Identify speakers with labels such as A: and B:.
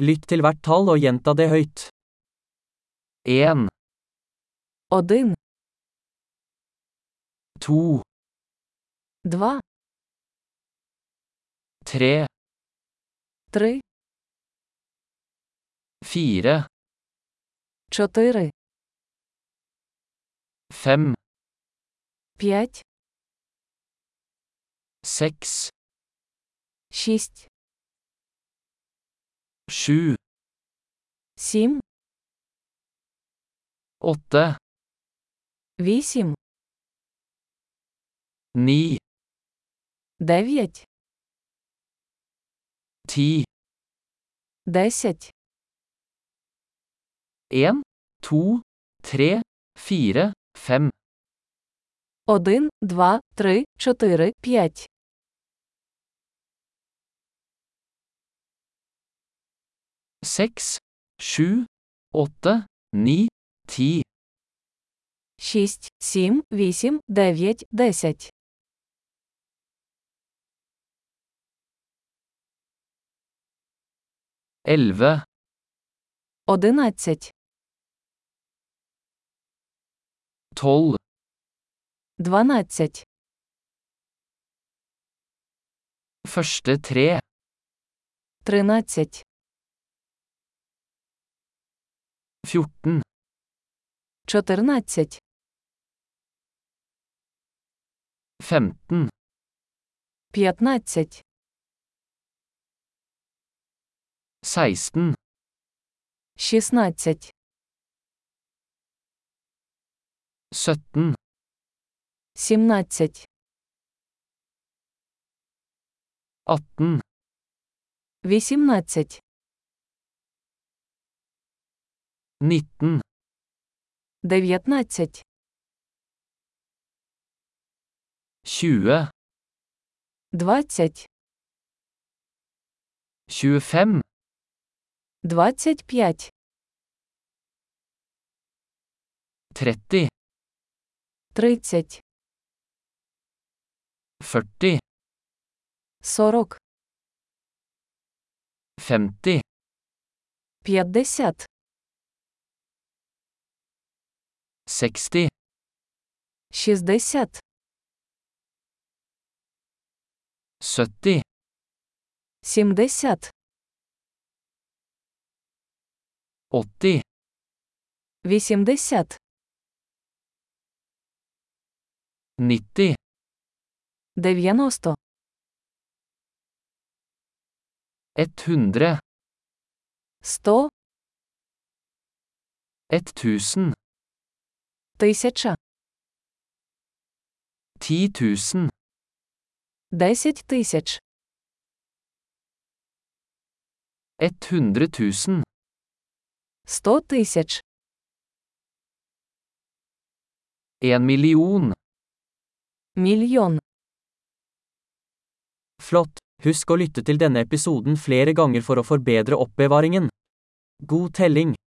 A: Lytt til hvert tall og gjenta det høyt. 1,
B: Один,
A: 2,
B: два,
A: 3,
B: три,
A: 4,
B: чотири,
A: 5,
B: п'ять,
A: 6,
B: шість,
A: 7,
B: сім,
A: 8,
B: вісім,
A: 9,
B: дев'ять,
A: 10,
B: десять,
A: 1, 2, 3, 4, 5,
B: один, два, три, чотири, п'ять,
A: 6, 7, 8, 9, 10,
B: шість, сім, вісім, дев'ять, десять,
A: 11,
B: одинадцять,
A: 12,
B: дванадцять,
A: første tre,
B: тринадцять,
A: 14,
B: чотирнадцять,
A: 15,
B: п'ятнадцять,
A: 16,
B: шістнадцять,
A: 17,
B: сімнадцять,
A: 18,
B: вісімнадцять,
A: 19,
B: дев'ятнадцять,
A: 20,
B: двадцять,
A: 25,
B: двадцять п'ять,
A: 30,
B: тридцять,
A: 40,
B: сорок,
A: 50,
B: п'ятдесят,
A: 60,
B: шістдесят,
A: 70,
B: сімдесят.
A: 80,
B: 80,
A: 90,
B: 90,
A: 100,
B: 100,
A: 1000,
B: 1000,
A: 10 000,
B: 10 тисяч,
A: 100 000,
B: 100 тисяч,
A: 1 million.
B: мільйон.
A: Flott! Husk å lytte til denne episoden flere ganger for å forbedre oppbevaringen. God telling!